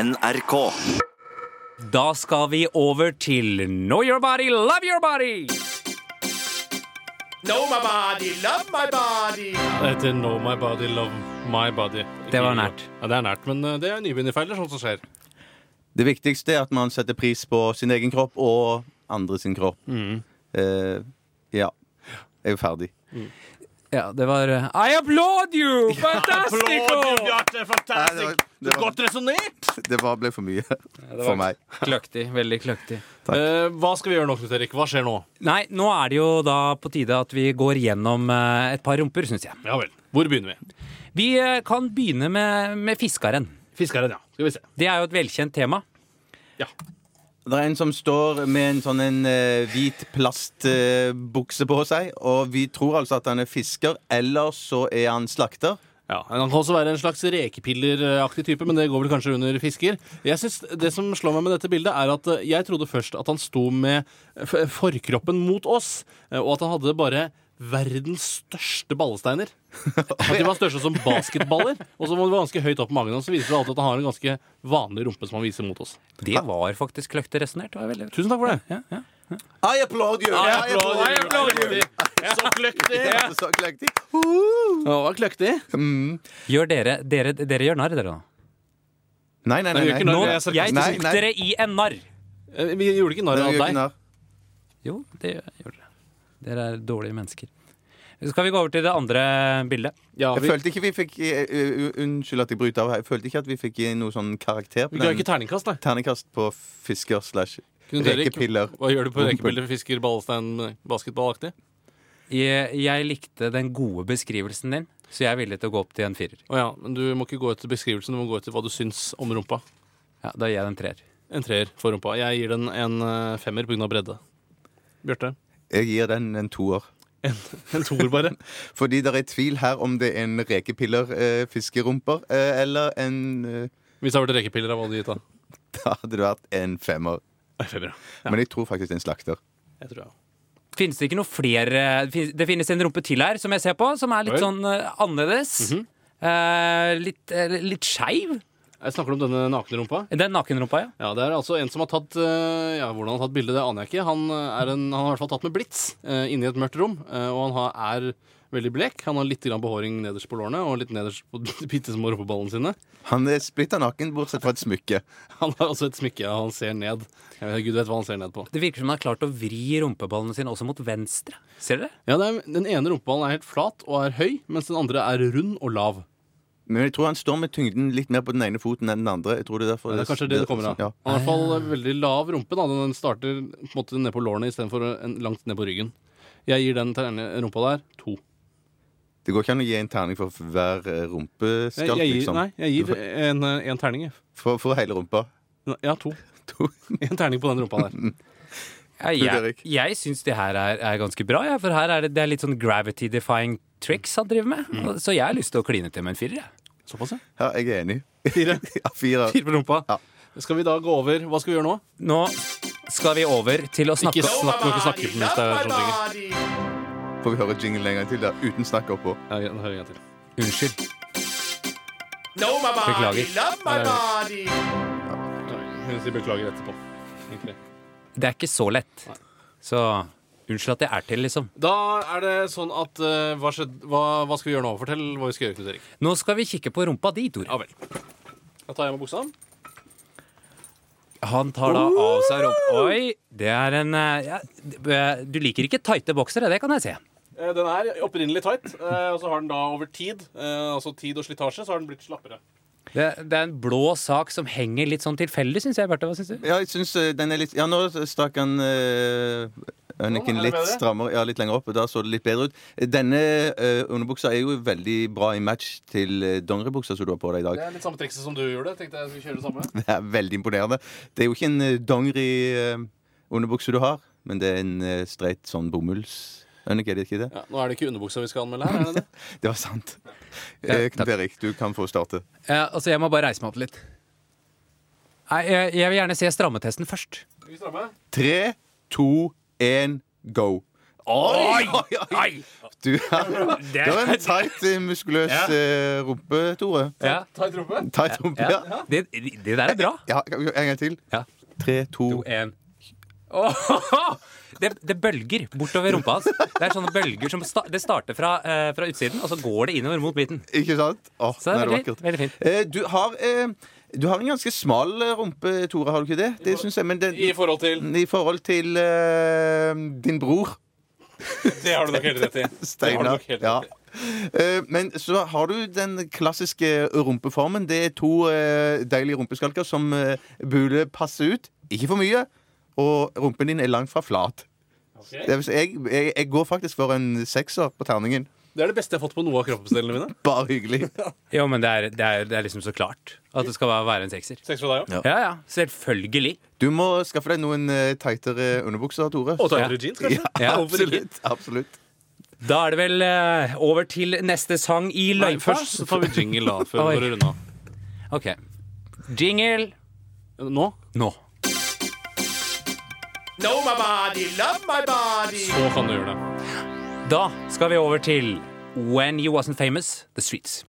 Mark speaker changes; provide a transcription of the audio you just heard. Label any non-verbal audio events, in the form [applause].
Speaker 1: NRK.
Speaker 2: Da skal vi over til Know your body, love your body!
Speaker 3: Know my body, love my body.
Speaker 4: Det heter Know My Body, Love My Body.
Speaker 2: Det var nært.
Speaker 4: Ja, det er nært, men eh, det er nybegynnerfeiler, sånt som skjer.
Speaker 5: Det viktigste er at man setter pris på sin egen kropp og andre sin kropp.
Speaker 4: Mm.
Speaker 5: Eh, ja. Jeg er ferdig.
Speaker 2: Ja, det var eh, I applaud [laughs] you! Fantastico!
Speaker 5: Nei,
Speaker 4: Bjarte!
Speaker 5: det var- det var-
Speaker 4: Godt resonnert!
Speaker 5: Det var, ble for mye [laughs] for meg.
Speaker 2: Kløktig. Veldig kløktig.
Speaker 4: Eh, hva skal vi gjøre nå, Knut Erik? Hva skjer nå?
Speaker 2: Nei, nå er det jo da på tide at vi går gjennom eh, et par rumper, syns jeg.
Speaker 4: Ja vel. Hvor begynner vi?
Speaker 2: Vi eh, kan begynne med, med fiskeren.
Speaker 4: Fiskeren, ja. Skal vi se.
Speaker 2: Det er jo et velkjent tema.
Speaker 4: Ja.
Speaker 5: Det er en som står med en sånn en, eh, hvit plastbukse på seg, og vi tror altså at han er fisker, eller så er han slakter.
Speaker 4: Ja, Han kan også være en slags rekepilleraktig type, men det går vel kanskje under fisker. Jeg synes Det som slår meg med dette bildet, er at eh, jeg trodde først at han sto med f forkroppen mot oss, eh, og at han hadde bare verdens største ballesteiner. At de var største som basketballer, og så var det ganske høyt opp på magen. Og så viser det alltid at han har en ganske vanlig rumpe som han viser mot oss.
Speaker 2: Det var faktisk kløktig resonnert. Det var veldig-
Speaker 4: Tusen takk for det.
Speaker 2: Ja, ja.
Speaker 5: I applaud you! I applaud you!
Speaker 4: Så kløktig!
Speaker 5: Ja, så kløktig.
Speaker 4: Å, kløktig.
Speaker 2: Gjør dere, dere, dere gjør narr, dere nå.
Speaker 5: Nei, nei, nei.
Speaker 4: gjør
Speaker 5: nei.
Speaker 4: ikke noe.
Speaker 2: Nå,
Speaker 4: det er
Speaker 2: jeg
Speaker 4: sarkastisk.
Speaker 5: Nei,
Speaker 2: tok
Speaker 5: nei.
Speaker 2: dere i en narr.
Speaker 4: Eh, Vi gjorde ikke narr
Speaker 5: Nei,
Speaker 4: av
Speaker 5: vi gjør ikke
Speaker 4: deg.
Speaker 5: narr.
Speaker 2: Jo, det gjør dere. Dere er dårlige mennesker. Skal vi gå over til det andre bildet?
Speaker 4: Ja,
Speaker 5: Jeg
Speaker 4: vi,
Speaker 5: følte ikke vi fikk eh, eh, Unnskyld at jeg bryter av her. Jeg følte ikke at vi fikk gi noe sånn karakter på
Speaker 4: vi ga
Speaker 5: den.
Speaker 4: ikke terningkast, nei.
Speaker 5: Terningkast på fisker slash
Speaker 4: Knut Erik,
Speaker 5: rekepiller.
Speaker 4: Hva gjør du på rekepiller, fisker, ballestein, basketballaktig?
Speaker 2: Jeg, jeg likte den gode beskrivelsen din, så jeg er villig til å gå opp til en firer.
Speaker 4: Å ja, men du må ikke gå etter beskrivelsen, du må gå etter hva du syns om rumpa.
Speaker 2: Ja, da gir jeg den en treer.
Speaker 4: En treer for rumpa. Jeg gir den en eh, femmer pga. bredde. Bjarte?
Speaker 5: Jeg gir den en toer.
Speaker 4: En toer,
Speaker 5: [laughs]
Speaker 4: bare.
Speaker 5: Fordi det er tvil her om det er en rekepiller, eh, fiskerumper, eh, eller en eh, [laughs]
Speaker 4: Hvis det hadde vært rekepiller, hva hadde du gitt da?
Speaker 5: Da hadde det vært en femmer.
Speaker 4: En femmer, ja.
Speaker 5: Men jeg tror faktisk det er en slakter.
Speaker 4: Jeg tror jeg.
Speaker 2: Finnes det ikke noe flere fin- Det finnes en rumpe til her, som jeg ser på, som er litt
Speaker 4: Oi. Mhm.
Speaker 2: sånn eh, annerledes. Eh, litt eh, litt skeiv.
Speaker 4: jeg snakker om denne nakne rumpa.
Speaker 2: Den nakenrumpa, ja.
Speaker 4: Ja, Det er altså en som har tatt eh, Ja, hvordan han har tatt bildet, det aner jeg ikke. Han, eh, er en, han har i hvert fall tatt med blits eh, inne i et mørkt rom, eh, og han har, er veldig blek. Han har litt grann behåring nederst på lårene og litt nederst på [laughs] de bitte små rumpeballene sine.
Speaker 5: Han er splitter naken, bortsett fra et smykke.
Speaker 4: Han har også et smykke, og han ser ned. Jeg vet, Gud vet hva han ser ned på.
Speaker 2: Det virker som han har klart å vri rumpeballene sine også mot venstre. Ser dere?
Speaker 4: Ja, det er, Den ene rumpeballen er helt flat og er høy, mens den andre er rund og lav.
Speaker 5: Men jeg tror han står med tyngden litt mer på den ene foten enn den andre. Jeg tror det er derfor
Speaker 4: Det er kanskje det det kommer av.
Speaker 5: Ja.
Speaker 4: Han har i hvert fall veldig lav rumpe. da, Den starter på en måte ned på lårene istedenfor en- langt ned på ryggen. Jeg gir den terne- rumpa der to.
Speaker 5: Det går ikke an å gi en terning for hver eh,
Speaker 4: Jeg,
Speaker 5: rumpeskalp,
Speaker 4: jeg gir,
Speaker 5: liksom.
Speaker 4: Nei, jeg gir en, en terning. jeg.
Speaker 5: For, for hele rumpa.
Speaker 4: Nei, Ja, to.
Speaker 5: To.
Speaker 4: En terning på den rumpa der.
Speaker 2: Ja,
Speaker 5: Knut
Speaker 2: jeg
Speaker 5: Erik.
Speaker 2: jeg syns det her er, er ganske bra, ja, for her er det, det er litt sånn gravity-defying tricks han driver med. Og-
Speaker 4: Mhm.
Speaker 2: Så jeg har lyst til å kline til med en firer. jeg.
Speaker 4: Såpass, ja.
Speaker 5: [laughs] Ja, jeg er enig.
Speaker 4: Fire.
Speaker 5: Ja, fire.
Speaker 4: Fire på rumpa.
Speaker 5: Ja.
Speaker 4: Skal vi da gå over Hva skal vi gjøre nå?
Speaker 2: Nå skal vi over til å snakke
Speaker 4: Ikke snakk, må ikke snakke mens det er sånn ting.
Speaker 5: Får vi høre jinglen en gang til der, uten snakk oppå?
Speaker 4: Ja, ja, da hører jeg til.
Speaker 2: Unnskyld.
Speaker 3: Know my body,
Speaker 2: Beklager.
Speaker 3: love my
Speaker 4: Nei,
Speaker 3: body.
Speaker 4: Hun sier beklager etterpå. Egentlig.
Speaker 2: Det er ikke så lett. Så unnskyld at jeg er til, liksom.
Speaker 4: Da er det sånn at eh, hva, skjedd, hva, hva skal vi gjøre nå? Fortell hva vi skal gjøre, Knut Erik.
Speaker 2: Nå skal vi kikke på rumpa di, Tor.
Speaker 4: Ja vel. Da tar jeg med buksa.
Speaker 2: Han tar da av seg rumpa Oi, det er en eh, ja, d- eh, Du liker ikke tighte boksere, det kan jeg se.
Speaker 4: Eh, Den er opprinnelig tight, eh, og så har den da over tid, eh, altså tid og slitasje, så har den blitt slappere.
Speaker 2: Det, det er en blå sak som henger litt sånn tilfeldig, syns jeg. Berte, hva synes du?
Speaker 5: Ja, jeg synes eh, den er litt Ja, nå stakk han eh, Øyniken
Speaker 4: Nå er det
Speaker 5: litt
Speaker 4: bedre.
Speaker 5: strammere Ja, litt lenger opp, og da så det litt bedre ut. Denne eh, underbuksa er jo veldig bra i match til eh, dongeribuksa som du har på deg i dag.
Speaker 4: Det er litt samme trikset som du gjorde. Tenkte jeg skulle kjøre det samme.
Speaker 5: [laughs] Det er veldig imponerende. Det er jo ikke en eh, dongeri eh, underbukse du har, men det er en eh, streit sånn bomulls... Øynik, er det ikke det?
Speaker 4: Ja, nå er det ikke underbuksa vi skal anmelde her, er det det?
Speaker 5: Det var sant. Eh, Knut Erik, du kan få starte.
Speaker 2: Ja, altså, jeg må bare reise meg opp litt. Nei, jeg, jeg vil gjerne se strammetesten først.
Speaker 4: Skal vi stramme?
Speaker 5: Tre, to, én, go. Oi! oi, oi. du har Det var en tight, eh, muskuløs eh, rumpe, Tore.
Speaker 2: Ja.
Speaker 5: Tight rumpe, ja.
Speaker 2: Det, det der er bra.
Speaker 5: ja. En gang til.
Speaker 2: Ja.
Speaker 5: Tre, to
Speaker 2: To, en. Åh, Det, det bølger bortover rumpa hans. Det er sånne bølger som sta, det starter fra, eh, fra utsiden, og så går det innover mot midten.
Speaker 5: Ikke sant? Åh, nei, det
Speaker 2: Så det er
Speaker 5: var
Speaker 2: veldig,
Speaker 5: vakkert.
Speaker 2: veldig fint.
Speaker 5: Eh, Du har, eh, du har en ganske smal eh, rumpe, Tore, har du ikke det? Det synes jeg, men den,
Speaker 4: I forhold til
Speaker 5: I forhold til eh, din bror,
Speaker 4: Det har du nok helt rett i. Det har du
Speaker 5: Steinar.
Speaker 4: nok helt rett i.
Speaker 5: Ja. Eh, Men så har du den klassiske rumpeformen. Det er to eh, deilige rumpeskalker som eh, burde passe ut. Ikke for mye. Og rumpen din er langt fra flat. Det vil si, jeg, jeg, jeg går faktisk for en sekser på terningen.
Speaker 4: Det er det beste jeg har fått på noe av kroppsdelene mine.
Speaker 5: Bare hyggelig.
Speaker 2: Jo, men det er, det, er, det er liksom så klart at det skal være- være en sekser.
Speaker 4: Sex fra deg òg.
Speaker 2: Ja, ja. Selvfølgelig.
Speaker 5: Du må skaffe deg noen eh, tightere underbukser, Tore.
Speaker 4: Og
Speaker 2: Ja.
Speaker 4: tightere jeans, kanskje.
Speaker 2: Ja,
Speaker 4: Hvorfor ikke?
Speaker 5: Absolutt. absolutt.
Speaker 2: Da er det vel eh, over til neste sang i
Speaker 4: Nei,
Speaker 2: løypa.
Speaker 4: først så tar vi jingle, da. Før
Speaker 2: Oi.
Speaker 4: vi går unna.
Speaker 2: OK. Jingle
Speaker 4: Nå
Speaker 2: nå.
Speaker 3: Know my body, love my body.
Speaker 4: så kan du gjøre det.
Speaker 2: Da skal vi over til When You Wasn't Famous, The Streets.